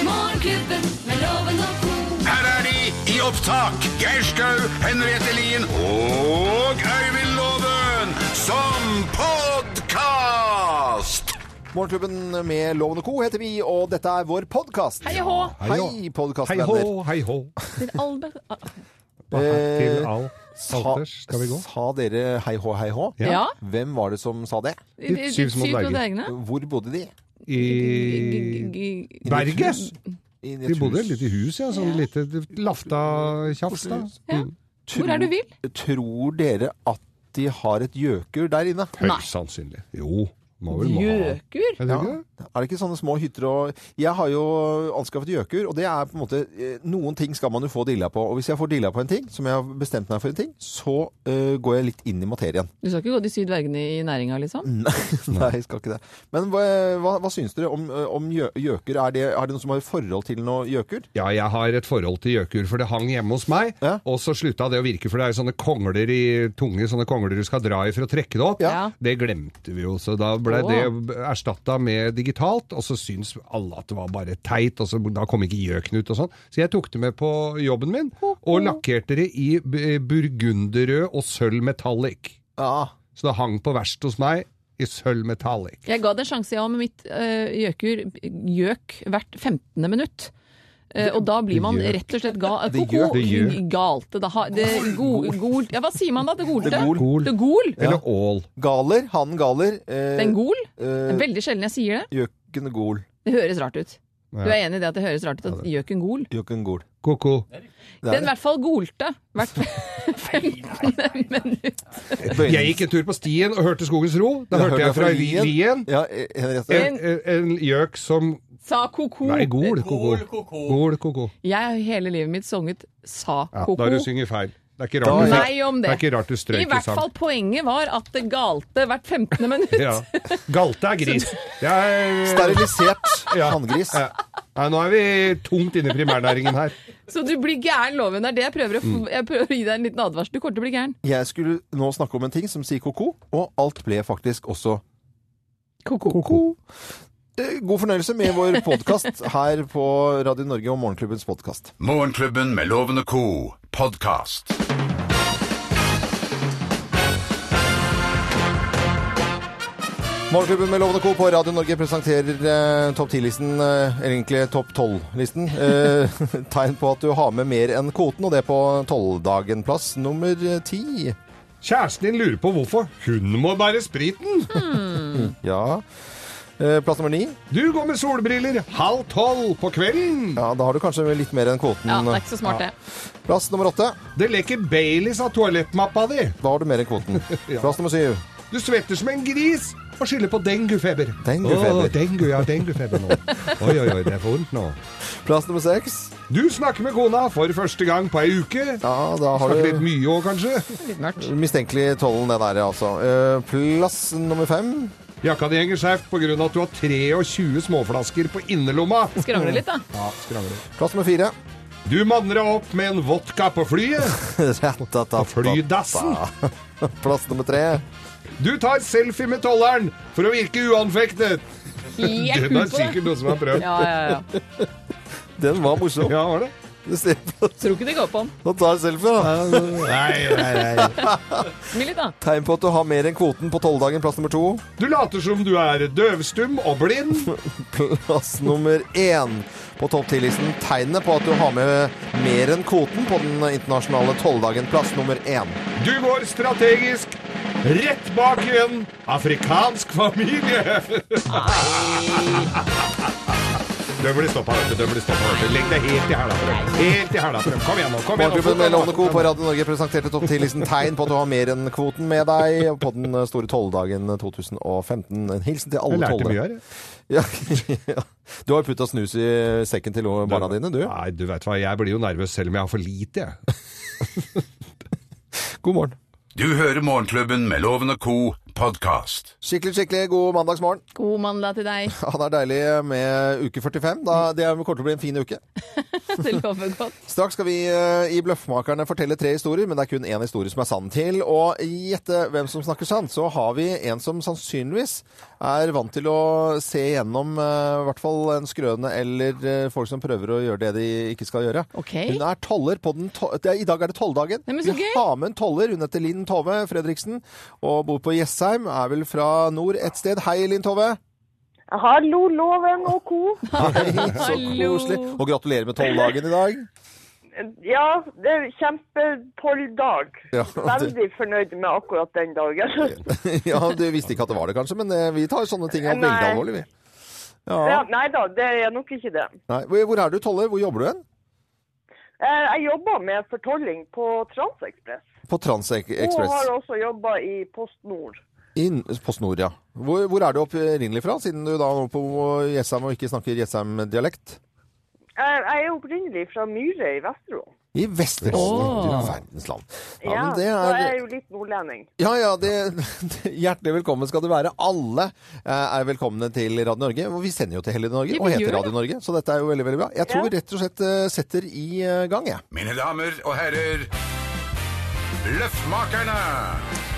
Morgenklubben med loven og ko. Her er de i opptak. Geir Skau, Henriette Lien og Øyvind Loven som podkast! Morgenklubben med Loven og Co. heter vi, og dette er vår podkast. Hei og hå! Hei, Hei hå, podkastvenner. hei hå. Til Albert ah, Hva Eh, her til all Sa- alters skal vi gå? Sa dere hei hå, hei hå? Ja. Ja. Hvem var det som sa det? i- i- Ditt syv små syv dverger. små dvergene. Hvor bodde de? G- I g- g- Berges. I et De bodde hus. litt i hus, ja. Sånn Ja. lite lafta tjafs, da. Ja. Hvor er du vil? Tror dere at de har et gjøkur der inne? Nei. Høyst sannsynlig. Jo, må vel må ha. Gjøkur? Er det ikke det? Er det ikke sånne små hytter og Jeg har jo anskaffet gjøkur, og det er på en måte eh, Noen ting skal man jo få dilla på. Og hvis jeg får dilla på en ting, som jeg har bestemt meg for en ting, så eh, går jeg litt inn i materien. Du skal ikke gå de syv dvergene i næringa, liksom? Mm. Nei, nei, jeg skal ikke det. Men hva, hva, hva syns dere om, eh, om gjø- gjøker? Er det, er det noen som har forhold til noe gjøker? Ja, jeg har et forhold til gjøkur, for det hang hjemme hos meg. Ja. Og så slutta det å virke, for det er jo sånne kongler i tunge, sånne kongler du skal dra i for å trekke det opp. Ja. Det glemte vi jo, så da ble Åh. det erstatta med digitalt. Og så syns alle at det var bare teit, og så da kom ikke gjøken ut og sånn. Så jeg tok det med på jobben min, og lakkerte det i b- eh, burgunderrød og sølv metallic. Ja. Så det hang på verst hos meg i sølv metallic. Jeg ga det en sjanse, jeg òg, med mitt eh, gjøkur gjøk hvert 15. minutt. Eh, og da blir man gjøk. rett og slett ga, Det koko, gjør- det gjør. galte. Det, har- det go, gol, ja, hva sier man da? Det golte? Det gol. Gol. Eh, Det gol. Eller ål. Galer, hanen galer. eh, Den gol? Det eh, er veldig sjelden jeg sier det. Gjøken gol. Det høres rart ut. Du Ja. er enig i det at det høres rart ut at gjøken gol? Gjøken gol. Ko-ko. Det er Den i hvert fall golte hvert 15. minutt. et bøyning. Jeg gikk en tur på stien og hørte Skogens ro. Da Jeg hørte jeg fra Lien. Lien. Ja, eh, Henriette. En, en- en gjøk som Sa ko-ko. Nei, gol, koko. Gol, koko. Jeg har hele livet mitt sunget sa Ja, ko-ko. da har du synger feil. Det er ikke Da- rart, du- Nei, om det. er ikke rart du strøk I hvert sang. fall poenget var at det galte hvert 15. minutt. Ja. Galte er gris. Det er, Sterilisert Ja. hanngris. ja. Nei, nå er vi tungt inne i primærnæringen her. Så du blir gæren, loven. Det er det jeg prøver å, f- jeg prøver å gi deg en liten advarsel. Du kommer til å bli gæren. Jeg skulle nå snakke om en ting som sier ko-ko, og alt ble faktisk også ko-ko. Eh, God fornøyelse med vår podkast her på Radio Norge og Morgenklubbens podkast. Morgenklubben med Loven og co. podkast. Morgenklubben med Lovende Co. på Radio Norge presenterer eh, topp 10-listen, eh, eller egentlig topp 12-listen. Eh, tegn på at du har med mer enn kvoten, og det på 12-dagen. Plass nummer 10. Kjæresten din lurer på hvorfor hun må bære spriten. Ja. Eh, plass nummer 9. Du går med solbriller halv tolv på kvelden. Ja, da har du kanskje litt mer enn kvoten. Ja, det er ikke så smart, det. Plass nummer 8. Det leker Baileys av toalettmappa di. Da har du mer enn kvoten. Plass nummer 7. Du svetter som en gris og skylder på denguefeber. Denguefeber. Å, dengu, ja, denguefeber nå. Oi, oi, oi, det er for vondt nå. Plass nummer 6. Du snakker med kona for første gang på ei uke. Ja, da har Snakker litt du mye òg, kanskje? Litt mørkt. mistenkelig tollen, det der, altså. Eh, plass nummer 5. Jakka di henger skjevt pga. at du har 23 småflasker på innerlomma. Skrangle litt, da. Ja, skrangler. Plass nummer 4. Du manner deg opp med en vodka på flyet. På flydassen. Plass nummer 3. Du tar selfie med tolleren for å virke uanfektet. Helt kul Den er på det. sikkert noen som har prøvd. Ja, ja, ja. Den var morsom. Ja, var det? Du ser på Tror ikke det går på den. Nå tar jeg selfie, da. Nei, nei, nei. Smil litt, da. Tegn på at du har mer enn kvoten på tolvdagen. Plass nummer to. Du later som du er døvstum og blind. Plass nummer én på topp ti-listen. Tegnet på at du har med mer enn kvoten på den internasjonale tolvdagen. Plass nummer én. Du går strategisk rett bak i en afrikansk familie. Den blir stoppa, vet du. Den blir stoppa, vet du. Legg deg helt i hæla på dem. Helt i hæla på dem. Kom igjen nå. kom igjen nå. Morgenklubben med Lovende Co. på Radio Norge presenterte topp ti-listen tegn på at du har mer enn kvoten med deg på den store tolvdagen 2015. En hilsen til alle Jeg lærte mye tolvere. her. jeg. Ja, ja. Du har jo putta snus i sekken til barna dine, du. Nei, du vet hva, jeg blir jo nervøs selv om jeg har for lite, jeg. God morgen. Du hører Morgenklubben med Loven og co. podcast. Skikkelig, skikkelig god mandagsmorgen. God mandag til deg. Ja, det er deilig med uke 45. Da, det kommer til å bli en fin uke. Det lover godt. Straks skal vi eh, i Bløffmakerne fortelle tre historier, men det er kun én historie som er sann til. Og gjette hvem som snakker sant. Så har vi en som sannsynligvis er vant til å se gjennom eh, i hvert fall en skrøne eller eh, folk som prøver å gjøre det de ikke skal gjøre. Ok. Hun er toller på den to det, er- I dag er det tolldagen. Nei, men så vi gøy. har med en toller. Hun heter Linn Tove Fredriksen og bor på Jessheim. Er vel fra nord et sted. Hei, Linn Tove. Hallo, Loven og co. Hei, så Hallo. koselig. Og gratulerer med tolldagen i dag. Ja, det er kjempetolldag. Ja, det- Veldig fornøyd med akkurat den dagen. ja, du visste ikke at det var det, kanskje, men eh, vi tar sånne ting veldig Nei. alvorlig, vi. Ja, Ja. nei da, det er nok ikke det. Nei. Hvor- Hvor er du, Tolle? Hvor jobber du hen? Eh, Jeg jobber med fortolling på Transekspress. På Og har Transekspress. også jobba i Post Nord. Inn Post Nord, ja. Hvor, hvor er du opprinnelig fra, siden du da nå på Jessheim og ikke snakker Jessheim-dialekt? Eh, Jeg er opprinnelig fra Myre i Vesterålen. I Vesterålen. Åh. Du verdens land. Ja, Ja, men det så jeg er er jo litt nordlending. Ja, ja, det, hjertelig velkommen skal du være. Alle eh, er velkomne til Radio Norge. og Vi sender jo til hele Norge Ja, og vi gjør heter det. Radio Norge, så dette er jo veldig, veldig bra. Jeg tror Ja. vi rett og slett eh, setter i eh, gang, jeg. Mine damer og herrer, Løffmakerne!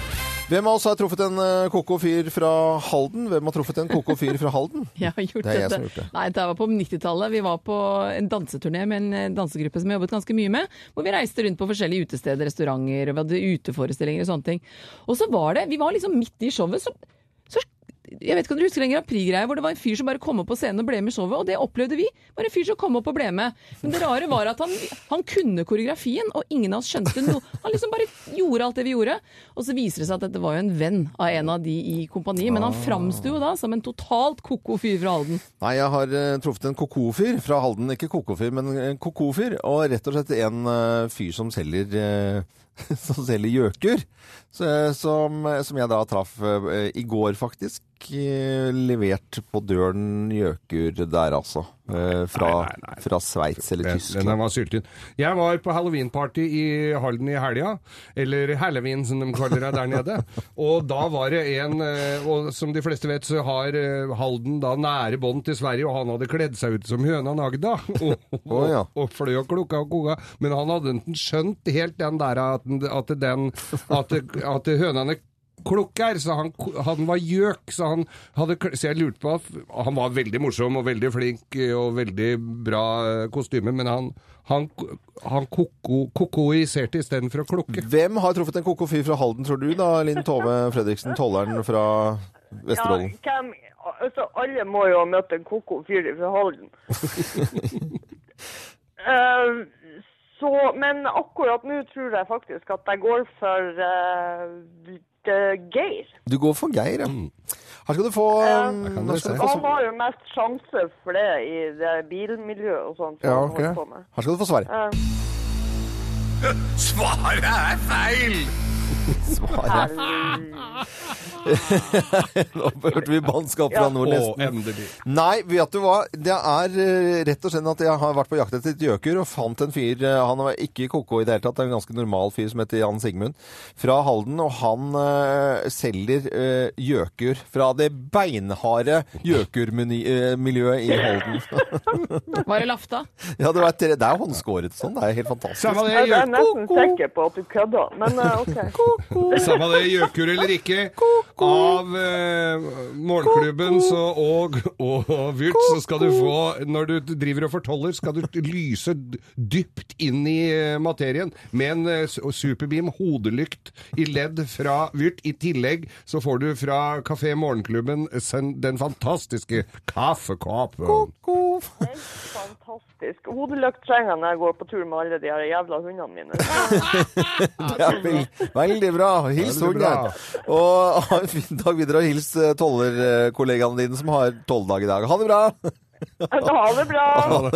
Hvem av oss har truffet en eh, koko fyr fra Halden? Hvem har truffet en koko fyr fra Halden? Jeg har gjort Det er jeg dette. som har gjort det. Nei, det var på 90-tallet. Vi var på en danseturné med en eh, dansegruppe som jeg jobbet ganske mye med. Hvor vi reiste rundt på forskjellige utesteder, restauranter, og vi hadde uteforestillinger og sånne ting. Og så var det Vi var liksom midt i showet, så, så jeg vet ikke om dere husker den Grand Prix-greia hvor det var en fyr som bare kom opp på scenen og ble med i showet, og det opplevde vi. Bare en fyr som kom opp og ble med. Men det rare var at han, han kunne koreografien, og ingen av oss skjønte noe. Han liksom bare gjorde alt det vi gjorde. Og så viser det seg at dette var jo en venn av en av de i kompaniet, men han framsto jo da som en totalt ko-ko fyr fra Halden. Nei, jeg har eh, truffet en koko-fyr fra Halden. Ikke koko-fyr, men en koko-fyr. Og rett og slett en eh, fyr som selger eh, som selger gjøker. Så, eh, som, som jeg da traff eh, i går, faktisk. eh, Levert på døren gjøker der, altså. Eh, Fra, nei, nei. fra Sveits eller Den, den der Tyskland. var syltynn. Jeg var på halloweenparty i Halden i helga, eller halloween som de kaller det der nede. Og da var det en, eh, og som de fleste vet så har eh, Halden da nære bånd til Sverige, og han hadde kledd seg ut som høna Nagda. Og, Å, ja. og fløy og klukka og koka. Men han hadde ikke skjønt helt den der at, den- at, den, at, at hønene klukker, så han, han var gjøk, så han hadde kl- Så jeg lurte på at Han var veldig morsom og veldig flink og veldig bra eh, kostyme, men han, han, han koko, kokoiserte istedenfor å klukke. Hvem har truffet en koko-fyr fra Halden, tror du da, Linn Tove Fredriksen, tolleren fra Ja, Vesterålen? hvem, altså, alle må jo ha møtt en koko fyr fra Halden. Eh, så, men akkurat nå tror jeg faktisk at jeg går for eh, det- Geir. Du går for Geir, ja. Mm. Her skal du få um, kan her dere skal du se. få Han har jo mest sjanse for det i det bilmiljøet og sånt. som Ja, han ok. holdt på med. Her skal du få svar. Svaret er feil! Svar. Nå hørte vi bannskap fra nord Å, nesten. endelig. Nei, vet du hva? Det er eh, rett og slett at jeg har vært på jakt etter et gjøkur og fant en fyr eh, Han var ikke koko i det hele tatt, det er en ganske normal fyr som heter Jan Sigmund fra Halden. Og han eh, selger eh, gjøkur fra det beinharde gjøkurmiljøet i Halden. Var det lafta? ja, det, var et, det er håndskåret sånn, det er helt fantastisk. Samme det, Jeg er gjøk, nesten sikker på at du kødder, men eh, OK. samme det gjøkur eller ikke. Av eh, morgenklubben så, og, og Vyrt så skal du få, når du driver og fortoller, skal du lyse d- dypt inn i eh, materien med en eh, s- superbeam hodelykt i ledd fra Vyrt. I tillegg så får du fra Kafé Morgenklubben eh, sen- den fantastiske kaffekoppen. Helt Fantastisk. Hodelykt trenger jeg når jeg går på tur med alle de her jævla hundene mine. Ja, vel, veldig bra. Hils Veldig bra. Torgeir. Og ha en fin dag videre, og hils eh, tollerkollegaene dine som har tolvdag i dag. Ha det bra! Ha det bra.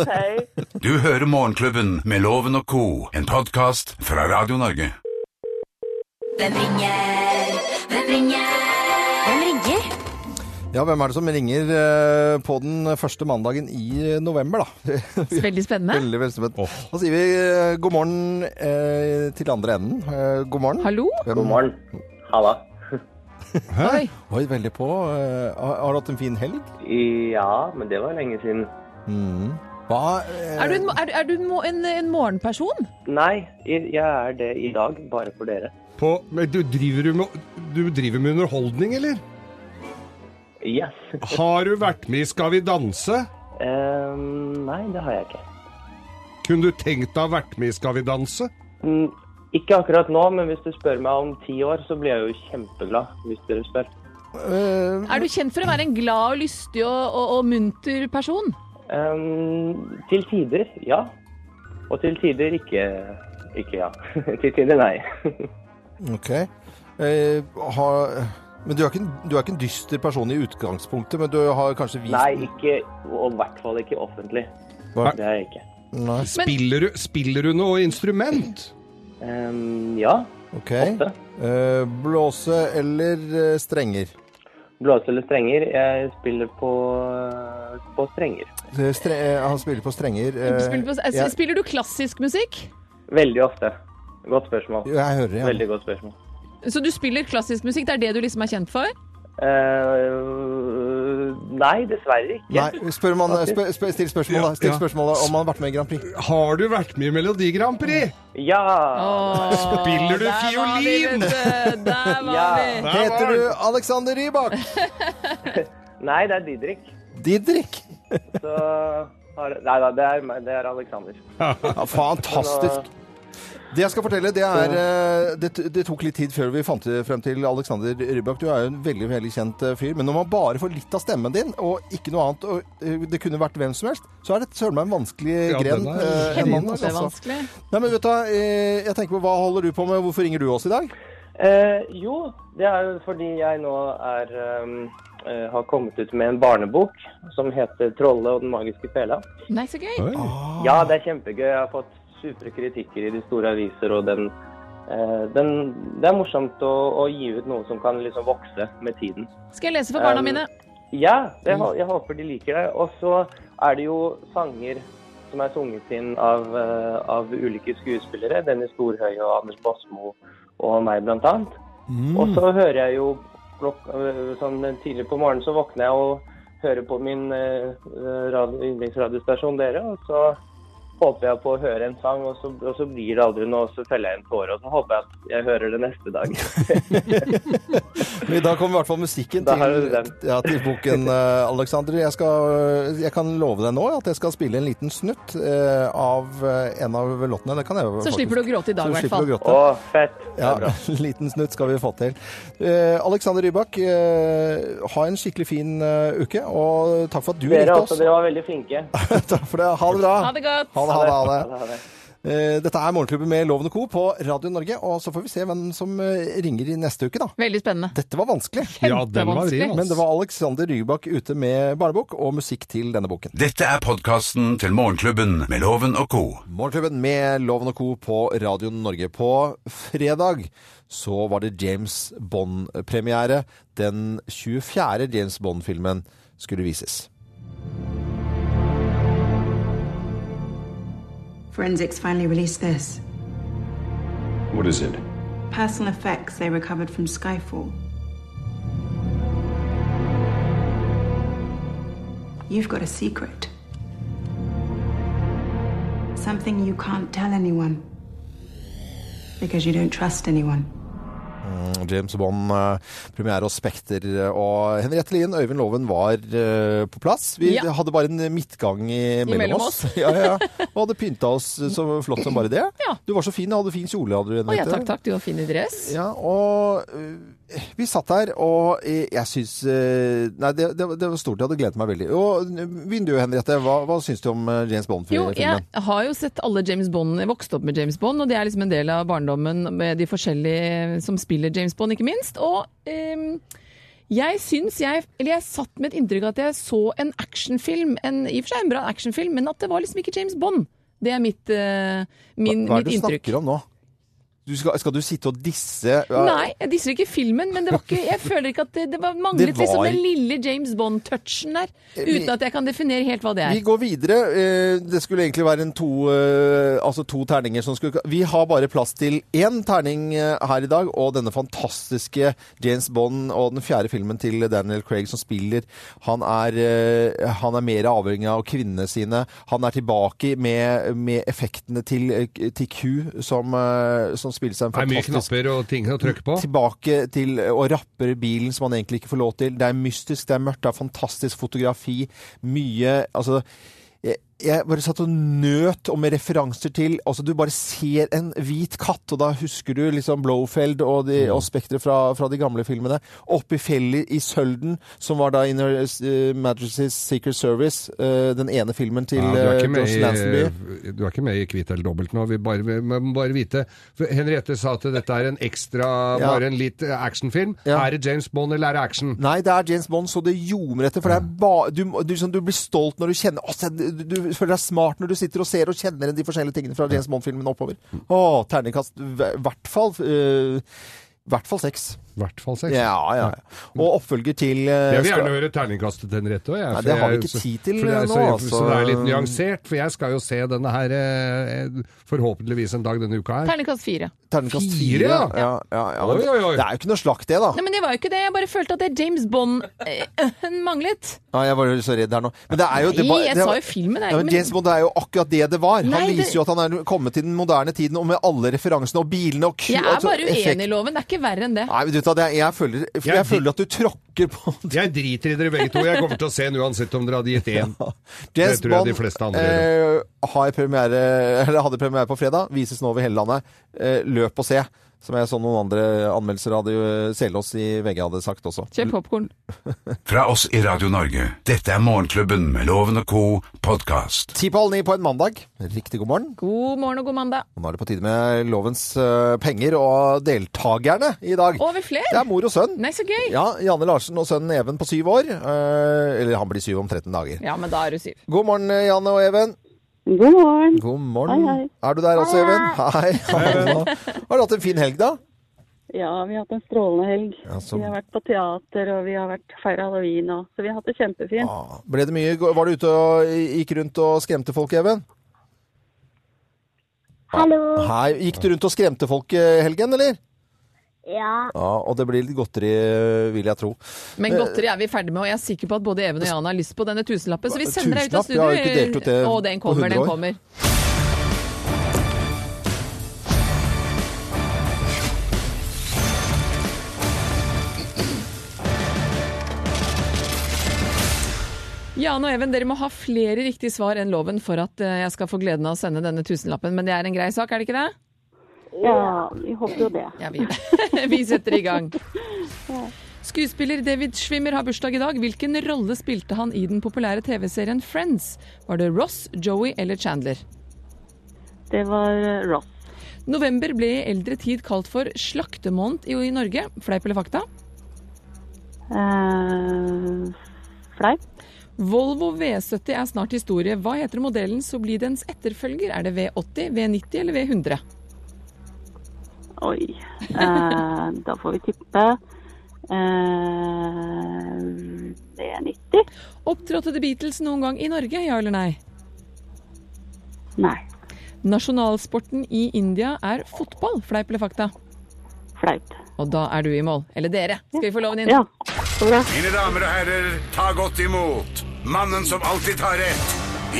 Hei. Du hører Morgenklubben med Loven og Co., en podkast fra Radio Norge. Hvem ringer? Hvem ringer? Hvem ringer? Ja, hvem er det som ringer eh, på den første mandagen i november, da? Veldig spennende. Veldig veldig spent. Da sier vi eh, god morgen eh, til andre enden. Eh, God morgen. Hallo? Hvem- God morgen. Halla. Oi. Oi, veldig på. Eh, har, har du hatt en fin helg? Ja, men det var lenge siden. Hva eh, Er du, en, er, er du en mo- en, en morgenperson? Nei, i- jeg er det i dag, bare for dere. På, men du, driver du, med, du driver med underholdning, eller? Yes. Har du vært med i Skal vi danse? Eh, nei, det har jeg ikke. Kunne du tenkt deg å ha vært med i Skal vi danse? Mm, Ikke akkurat nå, men hvis du spør meg om ti år, så blir jeg jo kjempeglad. Hvis dere spør. eh, Er du kjent for å være en glad og lystig og, og, og munter person? Eh, til tider, ja. Og til tider ikke Ikke ja. til tider, nei. Ok. Eh, har, men du er, ikke en, du er ikke en dyster person i utgangspunktet, men du har kanskje vist nei, ikke Og i hvert fall ikke offentlig. Hva- Det er jeg ikke. Nei. Spiller du, spiller du noe instrument? Eh, ja. Ok. Åtte. Eh, blåse eller eh, strenger? Blåse eller strenger? Jeg spiller på, på strenger. Eh, Stre eh, han spiller på strenger. eh, Spiller, på, altså, jeg, spiller du klassisk musikk? Veldig ofte. Godt spørsmål. jeg hører ja. Veldig godt spørsmål. Så du spiller klassisk musikk, det er det du liksom er kjent for? Eh, nei, dessverre ikke. Nei, spør man, spør, spør, still spørsmål, da. Still Ja. spørsmål da, om han har vært med i Grand Prix. Har du vært med i Melodi Grand Prix? Ja! Spiller du der var fiolin? Vi, vet du. der var Ja. vi! Der var Heter den. du Alexander Rybak? Nei, det er Didrik. Didrik? Så har, Nei da, det er, meg- det er Alexander. Ja, fantastisk. Det jeg skal fortelle, det er eh, det, det tok litt tid før vi fant det frem til Alexander Rybak. Du er jo en veldig veldig kjent eh, fyr. Men når man bare får litt av stemmen din, og ikke noe annet, og eh, det kunne vært hvem som helst, så er det søren meg en vanskelig Ja, den gren. er- eh, en mann, altså. Kjempevanskelig. Nei, men vet du, hva, eh, jeg tenker på, Hva holder du på med? Hvorfor ringer du oss i dag? Eh, jo, det er jo fordi jeg nå er ehm, eh, har kommet ut med en barnebok som heter 'Trollet og den magiske fela'. Nei, så gøy. Ja, det er kjempegøy. Jeg har fått supre kritikker i de store aviser, og den, eh, den Det er morsomt å, å gi ut noe som kan liksom vokse med tiden. Skal jeg lese for barna Um, mine? Ja, jeg, Mm. hå- jeg håper de liker det. Og så er det jo sanger som er sunget inn av, eh, av ulike skuespillere. Dennis Storhøy og Anders Båsmo og meg, blant annet. Ah. Og så hører jeg jo klokk, eh, sånn tidlig på morgenen så våkner jeg og hører på min eh, radio, yndlingsradiostasjon dere, og så håper jeg på å høre en sang, og så, og så blir det aldri noe, og så feller jeg en tåre, og sånn. så håper jeg at jeg hører det neste dag. Men I dag kommer i hvert fall musikken Da har til, du den. ja, til boken, eh, Alexander. Jeg, skal, jeg kan love deg nå at jeg skal spille en liten snutt eh, av eh, en av låtene. Det kan jeg Så slipper du å gråte i dag, i hvert fall. Å, fett! Det Ja, er bra. en liten snutt skal vi få til. Eh, Alexander Rybak, eh, ha en skikkelig fin eh, uke, og takk for at du Dere ringte også, oss. dere var veldig flinke. takk for det. Ha det bra. Ha det godt. Ha det, ha det, ha det. Ha det. Eh, dette er Morgenklubben med Loven og Co. på Radio Norge, og så får vi se hvem som eh, ringer i neste uke, da. Veldig spennende. Dette var vanskelig. Ja, den var vri, Kjempevanskelig. altså. Men det var Alexander Rybak ute med barnebok og musikk til denne boken. Dette er podkasten til Morgenklubben med Loven og co. Morgenklubben med Loven og Co. på Radio Norge. På fredag så var det James Bond-premiere. Den 24. James Bond-filmen skulle vises. Forensics finally released this. What is it? Personal effects they recovered from Skyfall. You've got a secret. Something you can't tell anyone. Because you don't trust anyone. James Bond, eh, premiere og Spekter. eh, Og Henriette Lien, Øyvind Loven var eh, på plass. Vi Ja. hadde bare en midtgang i- mellom Imellom oss. ja, ja. Og hadde pynta oss så flott som bare det. Ja. Du var så fin, du hadde fin kjole. Hadde du, Å ja, Henriette. takk, takk. Du har fin i dress. Ja, og øh, vi satt her, og jeg, jeg syns øh, Nei, det, det, det var stort. Jeg hadde gledet meg veldig. Og øh, vinduet, Henriette, hva, hva syns du om øh, James Jo, Bond-filmen? jeg har jo sett alle James Bond, vokst opp med James Bond, og det er liksom en del av barndommen med de forskjellige som spiller James Bond, ikke minst. Og ehm, jeg syns jeg Eller jeg satt med et inntrykk av at jeg så en actionfilm, en, i og for seg en bra actionfilm, men at det var liksom ikke James Bond. Det er mitt, eh, min, hva er mitt det du inntrykk. snakker om nå? Du skal, skal du sitte og disse eh, ja, Nei, jeg disser ikke filmen, men det var ikke, jeg føler ikke at det, det var manglet Det var- Eh, liksom den lille James Bond-touchen der. Uten at jeg kan definere helt hva det Vi er. går videre. Eh, Det skulle egentlig være en to, eh, altså to terninger som skulle Vi har bare plass til én terning eh, her i dag, og denne fantastiske James Bond og den fjerde filmen til Daniel Craig som spiller. Han er, eh, han er mer avhengig av kvinnene sine. Han er tilbake med, med effektene til, eh, til Q, som, eh, som spiller seg en Det er mye fantastisk knapper og ting å trykke på. Tilbake til eh, å rappe bilen som han egentlig ikke får lov til. Det er mystisk, det er mørkt, det er fantastisk fotografi. Mye Altså jeg- jeg bare satt og nøt, og med referanser til altså Du bare ser en hvit katt, og da husker du liksom Blowfeld og, Mm. de- og Spekteret fra, fra de gamle filmene. Oppe i fjellet i Sølden, som var da Inner eh, Majesty's Secret Service, eh, den ene filmen til Ja, du, er eh, ikke med George Lansby. i, du er ikke med i kvitt eller dobbelt nå. Vi bare, vi må bare vite. For Henriette sa at dette er en ekstra, Ja. bare en litt actionfilm. Ja. Er det James Bond eller er det action? Nei, det er James Bond, så det ljomer etter. For det Mm. er ba du, må- du, sånn, du blir stolt når du kjenner Å, se, du, du føler deg smart når du sitter og ser og kjenner igjen de forskjellige tingene fra James Bond-filmen oppover. Mm. Å, terningkast I hvert fall eh, hvert fall seks. I hvert fall seks. Mm. Ja, ja. Og oppfølger til eh, Jeg vil skal- gjerne høre terningkastet til Henriette òg. Nei, det har vi ikke tid til for det er, nå, så, altså. så det er litt nyansert, for jeg skal jo se denne her eh, forhåpentligvis en dag denne uka her. Terningkast fire. terningkast Fire, fire. Ja, ja. ja, ja, Oi, Men oi, oi. Det er jo ikke noe slakt, det, da. Nei, men det var jo ikke det. Jeg bare følte at det James Bond eh, manglet. Ja, jeg var jo så redd her nå. Men det er jo det Nei, var- jeg det sa var- jo filmen, jeg, Ja, men men- James Bond det er jo akkurat det det var. Nei, han det- viser jo at han er kommet til den moderne tiden, og med alle referansene og bilene og ku- Jeg er altså, bare effekt- uenig i loven. Det er ikke verre enn det. Nei, men du, vet hva, det er- jeg, føler, jeg, Jeg- føler at du tråkker på Jeg driter i dere begge to. Jeg kommer til å se den uansett om dere hadde gitt én. James tror jeg Bond de fleste andre eh, har premiere, eller hadde premiere på fredag. Vises nå over hele landet. Eh, løp og se. Som jeg så noen andre anmeldelser hadde jo Selås i VG hadde sagt også. Kjøp popkorn. Fra oss i Radio Norge. Dette er Morgenklubben med Loven og co. podkast. Ti på halv ni på en mandag. Riktig god morgen. God morgen og god mandag. Og Nå er det på tide med lovens eh, penger og deltakerne i dag. Og vi flere? Det er mor og sønn. Nei, så gøy. Ja, Janne Larsen og sønnen Even på syv år. Eh, eller han blir syv om 13 dager. Ja, men da er du syv. God morgen, eh, Janne og Even. God morgen. God morgen. Hei, hei. Er du der også, Even? Hei. hallo. Har du hatt en fin helg, da? Ja, vi har hatt en strålende helg. Ja, så- Vi har vært på teater, og vi har vært feira halloween og Så vi har hatt det kjempefint. Ah, Ble det mye? Var du ute og gikk rundt og skremte folk, Even? Hallo. Hei. Gikk du rundt og skremte folk eh, helgen, eller? Ja. Ja, og det blir litt godteri, vil jeg tro. Men Eh, godteri er vi ferdig med, og jeg er sikker på at både Even og Jan har lyst på denne tusenlappen. Så vi sender deg ut av Tusenlapp? Jeg har jo ikke delt ut det studio. Å, den på kommer, 100 den år. kommer. Jan og Even, dere må ha flere riktige svar enn loven for at eh, jeg skal få gleden av å sende denne tusenlappen, men det er en grei sak, er det ikke det? Ja, vi håper jo det. Ja, vi, vi setter i gang. Skuespiller David Schwimmer har bursdag i dag. Hvilken rolle spilte han i den populære TV-serien Friends? Var det Ross, Joey eller Chandler? Det var eh, Ross. November ble i eldre tid kalt for slaktemåned i, i Norge. Fleip eller fakta? Eh, Fleip. Volvo V70 er snart historie. Hva heter modellen så blir dens etterfølger? Er det V80, V90 eller V100? Oi. Eh, da får vi tippe eh, V90. Opptrådte The Beatles noen gang i Norge, ja eller nei? Nei, Nasjonalsporten i India er fotball. Fleip eller fakta? fleip. Og da er du i mål. Eller dere. Skal vi få loven inn? Ja, så bra. Mine damer og herrer, ta godt imot mannen som alltid tar rett.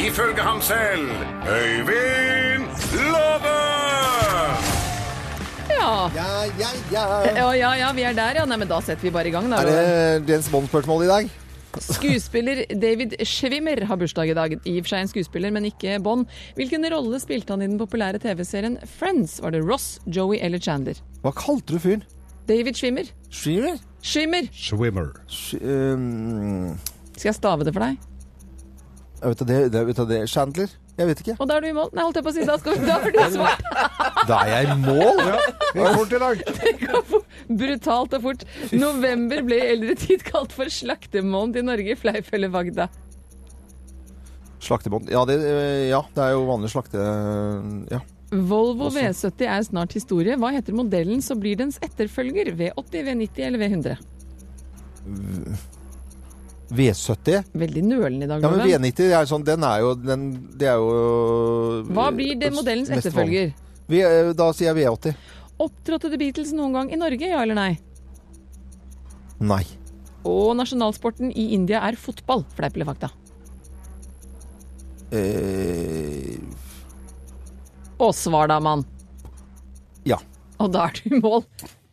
Ifølge ham selv Øyvind Låve! Ja. Ja, ja, ja. Ja, ja, ja, vi er der, ja. Nei, men da setter vi bare i gang, da. Er det Jens Bond-spørsmål i dag? Skuespiller David Schwimmer har bursdag i dag. I og for seg en skuespiller, men ikke Bond. Hvilken rolle spilte han i den populære TV-serien Friends? Var det Ross, Joey eller Chandler? Hva kalte du fyren? David Schwimmer. Schrever? Schwimmer! Swimmer. Sch- ehm, Skal jeg stave det for deg? jeg vet da det, det, vet da det. Chandler? Jeg vet ikke. Og da er du i mål. Nei, holdt jeg på å si. Da, skal vi, da har du svart. Da er jeg i mål! Ja, det gikk fort i dag. Brutalt og fort. November ble i eldre tid kalt for slaktemåned i Norge. Fleip eller Vagda? eh, Slaktebånd. Ja, det, øh, ja, det er jo vanlig slakte... Ja. Volvo V70 er snart historie. Hva heter modellen så blir dens etterfølger? V80, V90 eller V100? V70? Veldig nølende i dag, Ja, men Loven. V90 er sånn, den er jo, den, det er jo eh, Hva blir det modellens mest etterfølger? vanlig. Vi, eh, da sier jeg V80. Opptrådte The Beatles noen gang i Norge, ja eller nei? Nei. Og nasjonalsporten i India er fotball, fleip eller fakta? Eh, Og svar da, mann. ja. Og da er du i mål.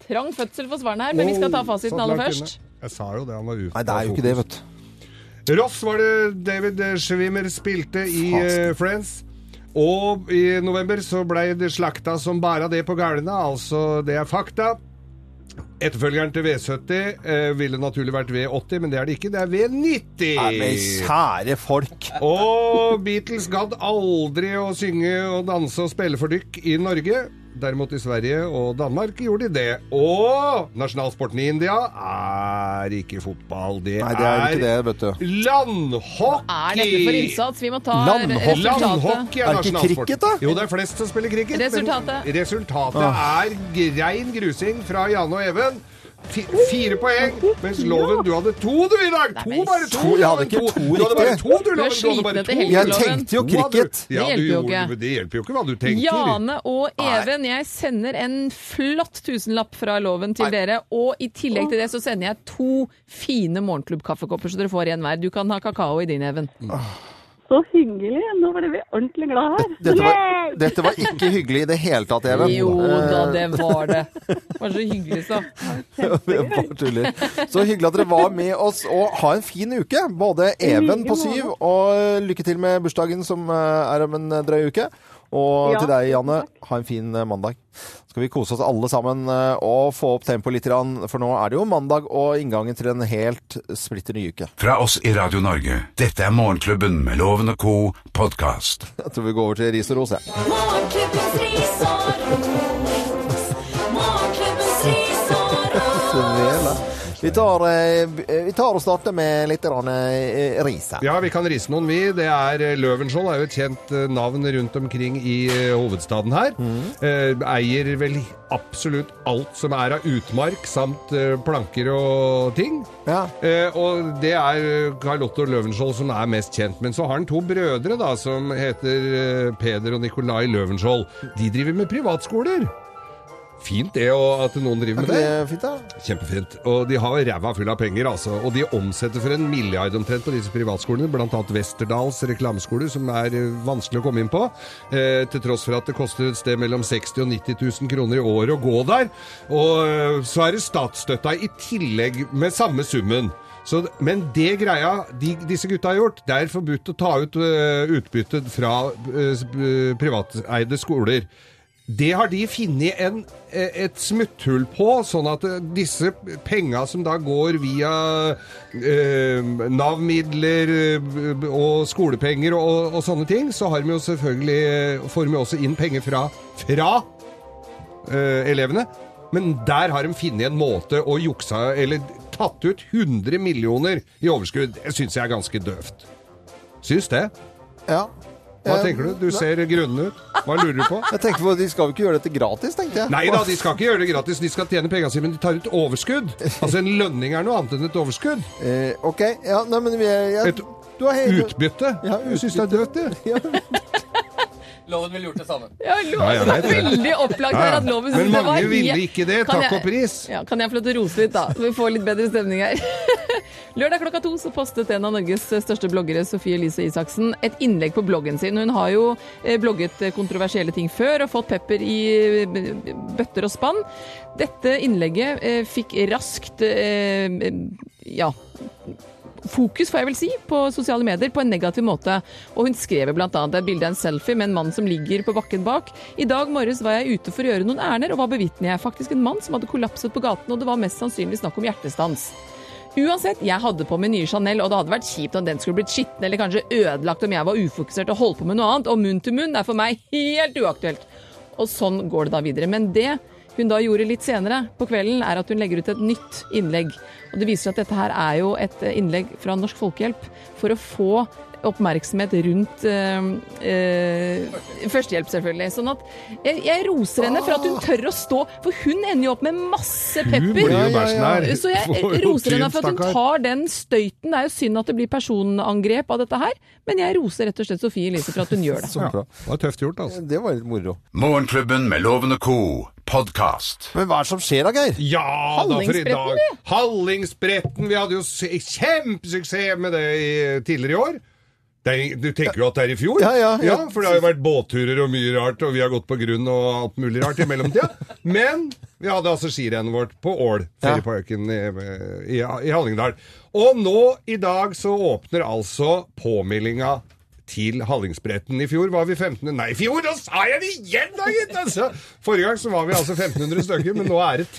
Trang fødsel for svarene her, men vi skal ta fasiten Satt aller langt først. inne. Jeg sa jo det, han var ute. Nei, det er jo ikke det, vet du. Ross var det David Schwimmer spilte i eh, Friends. Og i november så blei det slakta som bare det på gallene, altså det er fakta. Etterfølgeren til V70 eh, ville naturlig vært V80, men det er det ikke. Det er Nei, men V90. kjære folk. Og Beatles gadd aldri å synge og danse og spille for dykk i Norge. Derimot i Sverige og Danmark gjorde de det. Og nasjonalsporten i India er ikke fotball. Det, Nei, det er jo ikke det, vet du. Landhockey! Er dette for innsats? Vi må ta Landhockey. resultatet. Er Landhockey er det ikke nasjonalsport. cricket, da? Jo, det er flest som spiller cricket. men Resultatet. Resultatet Ah. er grein grusing fra Janne og Even. Fi- Fire poeng, mens Loven, du hadde to du i dag! men To, bare to! jeg hadde Loven, ikke to Du hadde bare riktig. to, du, Du er Loven! Du hadde bare sliten etter to. helgen, Jeg Loven. tenkte jo To hadde cricket. du. Ja, Det du hjelper jo gjorde- ikke. Det hjelper jo ikke hva du tenker. Jane og Even, jeg sender en flott tusenlapp fra loven til dere. Og i tillegg til det så sender jeg to fine morgenklubb-kaffekopper, så dere får en hver. Du kan ha kakao i din, Even. Så hyggelig. Nå ble vi ordentlig glad her. Dette var, dette var ikke hyggelig i det hele tatt, Even. Jo da, Eh, det var det. Det var så hyggelig, så. Jeg bare tuller. Så hyggelig at dere var med oss, og ha en fin uke. Både Even på syv, og lykke til med bursdagen som eh, er om en drøy uke. Og Ja, til deg, Janne, ha en fin eh, mandag. Skal vi kose oss alle sammen eh, og få opp tempoet litt, grann, for nå er det jo mandag og inngangen til en helt splitter ny uke. Fra oss i Radio Norge, dette er Morgenklubben med Loven og co. podkast. Jeg tror vi går over til ris og ros, jeg. Morgenklubbens ris og ros. Morgenklubbens ris og ros. Svele. Vi tar, eh, b- eh, vi tar og starter med litt grann, eh, ris her. Ja, vi kan rise noen, vi. Det er eh, Løvenskiold er jo et kjent eh, navn rundt omkring i eh, hovedstaden her. Eh, Eier vel absolutt alt som er av utmark, samt eh, planker og ting. Ja. Eh, og det er eh, Carl Otto Løvenskiold som er mest kjent. Men så har han to brødre da, som heter eh, Peder og Nikolai Løvenskiold. De driver med privatskoler. Fint det, og at noen driver Er med ikke det. det fint, da? Kjempefint. Og de har ræva full av penger, altså. Og de omsetter for en milliard omtrent på disse privatskolene, blant annet Westerdals reklameskole, som er eh, vanskelig å komme inn på. Eh, til tross for at det koster et sted mellom 60 000 og 90 000 kroner i året å gå der. Og eh, så er det statsstøtta i tillegg med samme summen. Så, men det greia de, disse gutta har gjort, det er forbudt å ta ut eh, utbytte fra eh, s- eh, privateide skoler. Det har de funnet en, eh, et smutthull på, sånn at disse penga som da går via eh, Nav-midler eh, og skolepenger og, og sånne ting, så har vi jo selvfølgelig, eh, får vi også inn penger fra, fra eh, elevene. Men der har de funnet en måte å juksa Eller tatt ut 100 millioner i overskudd. Det syns jeg er ganske døvt. Syns det. Ja. Eh, Hva tenker du? Du ser grunnen ut. Hva lurer du på? Jeg tenker på, De skal jo ikke gjøre dette gratis, tenkte jeg. Nei da, de skal ikke gjøre det gratis. De skal tjene pengene sine, men de tar ut overskudd. Altså, en lønning er noe annet enn et overskudd. Eh, ok, ja, nei, men vi er, jeg, Et du er helt... Utbytte. Ja, Jeg syns det er døvt, det. Ja, Loven ville gjort det samme. Ja, Ja, jeg loven vet er det. veldig opplagt her at loven Men synes det var mange ville helt- ikke det. Kan Takk jeg- og pris. Ja, kan jeg få lov til å rose litt, da? Så vi får litt bedre stemning her. Lørdag klokka to så postet en av Norges største bloggere, Sofie Elise Isaksen, et innlegg på bloggen sin. Hun har jo eh, blogget kontroversielle ting før og fått pepper i eh, bøtter og spann. Dette innlegget eh, fikk raskt eh, ja, fokus, får jeg vel si, på sosiale medier på en negativ måte. Og hun skrev bl.a. et bilde av en selfie med en mann som ligger på bakken bak. I dag morges var jeg ute for å gjøre noen ærender, og hva bevitner jeg? Faktisk en mann som hadde kollapset på gaten, og det var mest sannsynlig snakk om hjertestans. Uansett, jeg hadde på min nye Chanel, og det hadde vært kjipt om den skulle blitt skitten eller kanskje ødelagt om jeg var ufokusert og holdt på med noe annet, og munn til munn er for meg helt uaktuelt. Og sånn går det da videre. Men det hun da gjorde litt senere på kvelden, er at hun legger ut et nytt eh, innlegg. Og det viser seg at dette her er jo et innlegg fra Norsk Folkehjelp for å få oppmerksomhet rundt eh, eh, førstehjelp, selvfølgelig. Sånn at jeg, jeg roser henne for at hun tør å stå, for hun ender jo opp med masse Hun pepper. blir jo bæsjen her. Så jeg eh, roser henne for at hun tar den støyten. Det er jo synd at det blir personangrep av dette her, men jeg roser rett og slett Sofie Elise for at hun gjør det. Så bra. Det var tøft gjort, altså. Det var litt moro. Morgenklubben med Loven og Co. podkast. Men hva er det som skjer da, Geir? Ja da, for i Hallingsbretten, dag du. Hallingsbretten! Vi hadde jo se- kjempesuksess med det i, tidligere i år. Det er, du tenker jo at det er i fjor? Ja, ja, ja. For det har jo vært båtturer og mye rart, og vi har gått på grunn og alt mulig rart i mellomtida. Men vi hadde altså skirennet vårt på Ål, ferieparken i, i, i Hallingdal. Og nå i dag så åpner altså påmeldinga til Hallingsbretten. I fjor var vi 1500 Nei, i fjor! Da sa jeg det igjen, da, gitt! Altså. Forrige gang så var vi altså 1500 stykker, men nå er det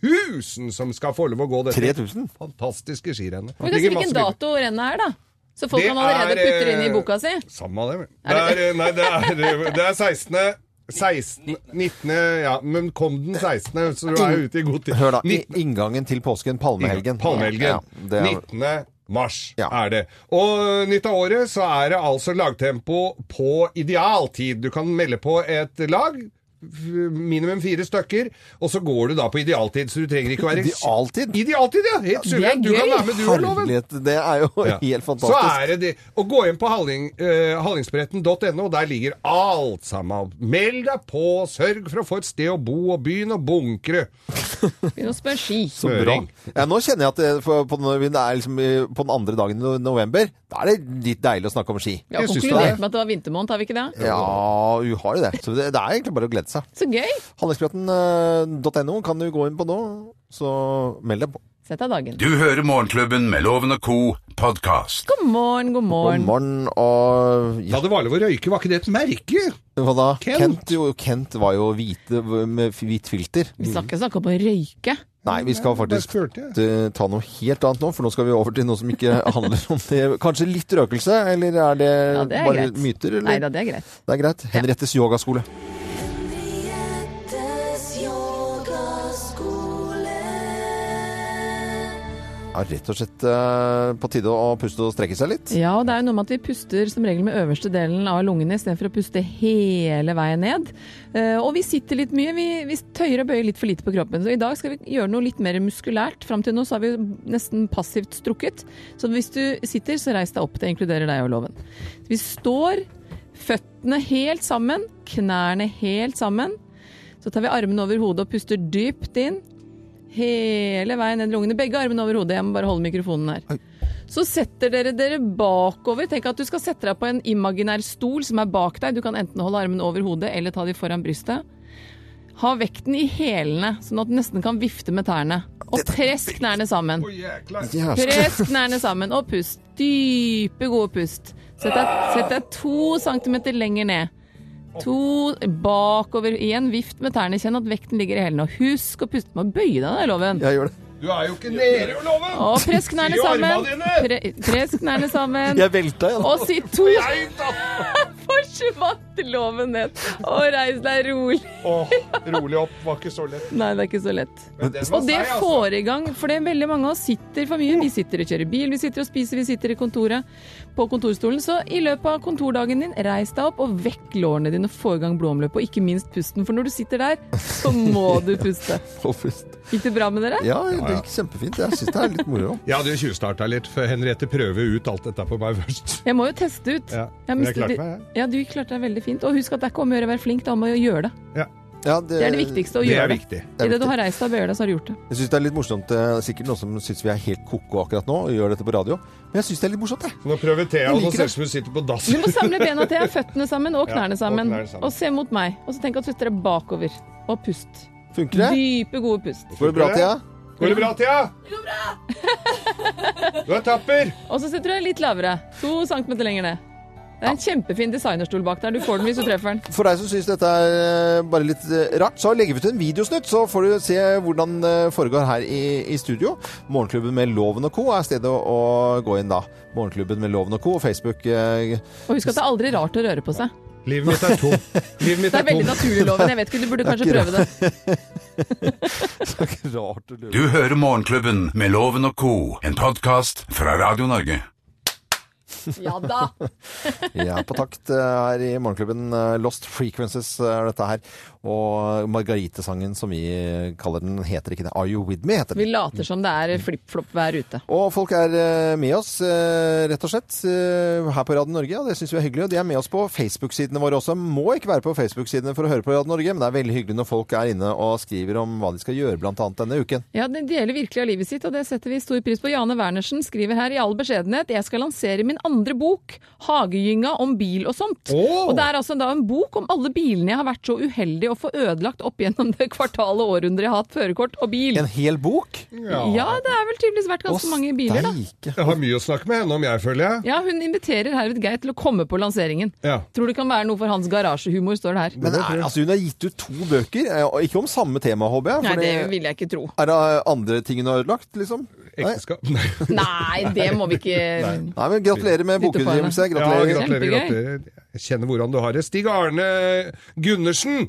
3000 som skal få lov å gå dette 3000? fantastiske skirennet. Men kanskje hvilken dato rennet er, da? Så folk Det kan allerede er, eh, putte det inn i boka si? Samme av det, vel. Det er, nei, det er, det er 16. 16. 19. Ja, men kom den 16., så du er ute i god tid. Hør da, i 19. inngangen til påsken, palmehelgen. Ja, Palmehelgen. det er, 19. mars Ja. er det. Og nytt av året så er det altså lagtempo på idealtid. Du kan melde på et lag. f- Minimum fire stykker, og så går du da på idealtid, så du trenger ikke å være Idealtid? Idealtid, ja! Helt det er suverent. Du kan gøy. være med, du òg, Loven. Herlighet, det er jo Ja. helt Så fantastisk. er det det. Og gå inn på halling, eh, hallingsbretten.no, der ligger alt sammen. Meld deg på, sørg for å få et sted å bo, og byen og bunkre. Begynn å spørre ski. Så bra. Høring. Ja, nå kjenner jeg at det, for, på, når vi- det er liksom, i- på den andre dagen i november, da er det litt deilig å snakke om ski. Vi har Jeg syns det konkludert er- med at det var vintermåned, har vi ikke det? Ja, hun har jo det. Så det, det er egentlig bare å glede seg. eh, Så gøy! Handlingsbretten.no kan du gå inn på nå, så meld deg på. Sett deg dagen. Du hører Morgenklubben med Loven og Co. podkast. God morgen, god God morgen. morgen og ja, Da det var lov å røyke, var ikke det et merke? hva da? Kent. Kent. jo, Kent var jo hvite med f- hvitt filter. Vi skal ikke snakke om å røyke. Nei, vi skal faktisk Bare spurte jeg. eh, ta noe helt annet nå, for nå skal vi over til noe som ikke handler om det. Kanskje litt røkelse, eller er det, Ja, det er Eh, bare greit. myter? Eller? Nei da, det er greit. Det er greit. Henriettes yogaskole. Henriettes yogaskole. Ja, rett og slett eh, på tide å puste og strekke seg litt. Ja, og det er jo noe med at vi puster som regel med øverste delen av lungene istedenfor å puste hele veien ned. Eh, Og vi sitter litt mye. Vi, vi tøyer og bøyer litt for lite på kroppen. Så i dag skal vi gjøre noe litt mer muskulært. Fram til nå så har vi jo nesten passivt strukket. Så hvis du sitter, så reis deg opp. Det inkluderer deg og loven. Vi står føttene helt sammen, knærne helt sammen. Så tar vi armene over hodet og puster dypt inn. Hele veien ned i lungene. Begge armene over hodet. Jeg må bare holde mikrofonen her. Så setter dere dere bakover. Tenk at du skal sette deg på en imaginær stol som er bak deg. Du kan enten holde armene over hodet eller ta de foran brystet. Ha vekten i hælene, sånn at du nesten kan vifte med tærne. Og tresk knærne sammen. Jævla. Press knærne sammen og pust. Dype, gode pust. Sett deg, sett deg to centimeter lenger ned. To bakover igjen. Vift med tærne. Kjenn at vekten ligger i hælene. Og husk å puste med å bøye deg, da, Loven. Jeg gjør det. Du er jo ikke nede, Loven! Og press knærne I armene sammen. dine! Pre press knærne sammen. Jeg velta igjen. Og si to Nei, da. forsvant loven ned. Og reis deg rolig. Åh, rolig opp, var ikke så lett. Nei, det er ikke så lett. Men den var Og det seig, altså. får i gang, for det er veldig mange av oss sitter for mye. Vi sitter og kjører bil, vi sitter og spiser, vi sitter i kontoret på kontorstolen. Så i løpet av kontordagen din, reis deg opp og vekk lårene dine, og få i gang blodomløpet, og ikke minst pusten. For når du sitter der, så må du puste. Og pust. Gikk det bra med dere? Ja, det gikk kjempefint. Jeg syns det er litt moro. Jeg hadde jo tjuvstarta litt, for Henriette prøver ut alt dette på meg først. Jeg må jo teste ut. Ja, Jeg men jeg mistet klarte litt- meg, jeg. Ja, du klarte deg veldig fint. Og husk at det er ikke om å gjøre å være flink, det er om å gjøre det. Ja, Det er det viktigste, å Det gjøre er det. viktig. Det er I det du viktig. har reist deg og bøyer deg, så har du gjort det. Jeg syns det er litt morsomt. eh, Sikkert noen som syns vi er helt ko-ko akkurat nå og gjør dette på radio. Men jeg syns det er litt morsomt, jeg. Nå prøver Thea, Jeg nå liker det. ser det ut som hun sitter på dass. Du må samle bena til, føttene sammen og Ja, knærne og sammen. knærne sammen. Og se mot meg. Og så tenk at du setter deg bakover. Og pust. Funker det? Dype, gode pust. Går det bra, Thea? Går det bra, Thea? Det går bra! Du er tapper! Og så setter du deg litt lavere. To centimeter lenger ned. Det er en kjempefin designerstol bak der. Du får den hvis du treffer den. For deg som syns dette er eh, bare litt eh, rart, så legger vi ut en videosnutt, så får du se hvordan det foregår her i, i studio. Morgenklubben med Loven og co. er stedet å, å gå inn da. Morgenklubben med Loven og co. og Facebook. eh, Og husk at det er aldri rart å røre på seg. Livet mitt er tomt. Livet mitt Det er er veldig tomt. naturlig, Loven. Jeg vet ikke, du burde kanskje Det er prøve det. Rart å lure. Du hører Morgenklubben med Loven og Co., en podkast fra Radio Norge. Ja da! Vi er på takt eh, her i morgenklubben. eh, Lost Frequences eh, er dette her. Og Margarite-sangen, som vi kaller den, heter ikke det. Are You With Me heter Vi den. later som det er flipp-flopp vær ute. Og folk er eh, med oss, eh, rett og slett, eh, her på Radio Norge. Og det syns vi er hyggelig. Og de er med oss på Facebook-sidene våre også. Må ikke være på Facebook-sidene for å høre på Radio Norge, men det er veldig hyggelig når folk er inne og skriver om hva de skal gjøre, blant annet denne uken. Ja, Det deler virkelig av livet sitt, og det setter vi stor pris på. Jane Wernersen skriver her i all beskjedenhet jeg skal lansere min andre bok, 'Hagegynga om bil og sånt'. Åh! Og Det er altså da en bok om alle bilene jeg har vært så uheldig å få ødelagt opp gjennom det kvartale århundret jeg har hatt førerkort og bil. En hel bok? Ja, det er vel tydeligvis vært ganske mange biler, da. Steike. Jeg har mye å snakke med henne om, jeg, føler jeg. Ja, Hun inviterer herved Geir til å komme på lanseringen. Ja. Tror det kan være noe for hans garasjehumor, står det her. Men er, altså, hun har gitt ut to bøker, eh, og ikke om samme tema, håper jeg. Nei, for det det- vil jeg ikke tro. Er det andre ting hun har ødelagt, liksom? Nei. Ekteskap Nei. Nei, det må vi ikke Nei, men gratulerer med Dytte på henne. bokutgivelse. Ja, Gratulerer. gratulerer, Kjempegøy. gratulerer. Jeg kjenner hvordan du har det. Stig Arne Gundersen.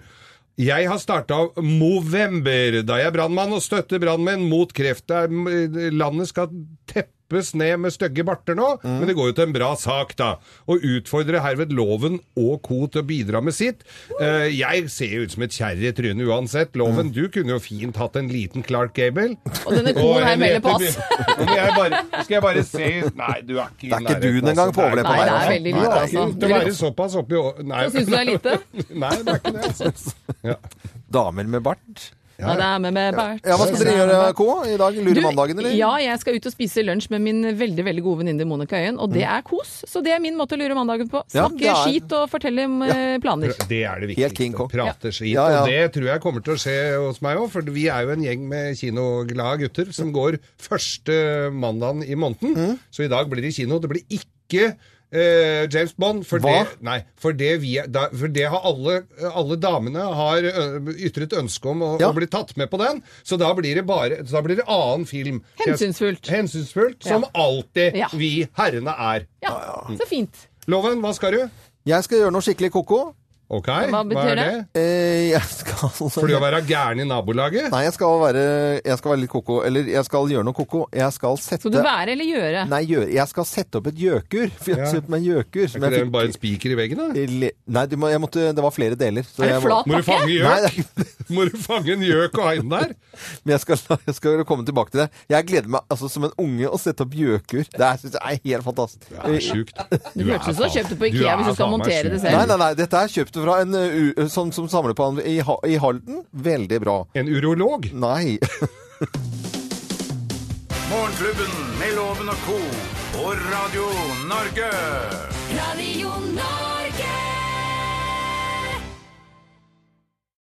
Jeg har starta Movember, da jeg er brannmann og støtter brannmenn mot kreft. Det er- Landet skal teppes ned med stygge barter nå, men det går jo til en bra sak, da. Og utfordrer herved loven og co. til å bidra med sitt. Eh, Jeg ser jo ut som et kjerre i trynet uansett. Loven, du kunne jo fint hatt en liten Clark Gable. Og denne koen her melder pass. Skal jeg bare, skal jeg bare se Nei, du er ikke i Det er ikke nærheten, dun engang på altså. overleppa Nei, der. det er altså. veldig Nei, lite, det er altså. ikke- Det være såpass oppi å- Nei. Jeg synes det er lite. Nei, det er ikke det. Altså. Ja. Damer med bart. Ja, det er med med Bert. Ja, Hva skal dere gjøre, K, i dag? Lure mandagen, eller? Ja, jeg skal ut og spise lunsj med min veldig veldig gode venninne Monica Øyen, og det er kos. Så det er min måte å lure mandagen på. Mm. Ja, Snakke det er- skit og fortelle om eh, planer. Det er det Helt King viktigste. Kong. Prate skit. Ja, ja. Og det tror jeg kommer til å skje hos meg òg, for vi er jo en gjeng med kinoglade gutter som går første mandagen i måneden. Mm. Så i dag blir det kino. Det blir ikke eh, James Bond, for Hva? det, nei, for det, vi, er- da, for det har alle, alle damene har ø, ytret ønske om å, Ja. å bli tatt med på den. Så da blir det bare så da blir det annen film. Hensynsfullt. Hensynsfullt, som alltid Ja. vi herrene er. Ja, så fint. Loven, hva skal du? Jeg skal gjøre noe skikkelig koko. Ok, Hva betyr er det? Eh, Jeg skal For det å være gæren i nabolaget? Nei, jeg skal være, jeg skal være litt koko. Eller jeg skal gjøre noe koko. Jeg skal sette Skal du være eller gjøre? Nei, gjøre- jeg skal sette opp et gjøkur. For jeg har Ja. sett meg en gjøkur. som Er ikke det jeg fikk- bare en spiker i veggen, da? Le- Nei, du må, jeg måtte, det var flere deler. Er så det jeg må- flat Må du fange pakke? Nei, det gjøk? er ikke Må du fange en gjøk og ha den der? Men jeg skal, jeg skal komme tilbake til det. Jeg gleder meg altså, som en unge å sette opp gjøkur. Det her synes jeg er helt fantastisk. Det er sjukt. Du hørtes ut som du kjøpte på Ikea hvis du skal montere det selv. Eh, Nei, nei, nei. Dette er kjøpt fra en uh, u- som, som samler på han i, Ha- i Halden. Veldig bra. En urolog? Nei. Morgenklubben med Loven og co. på Radio Norge. Radio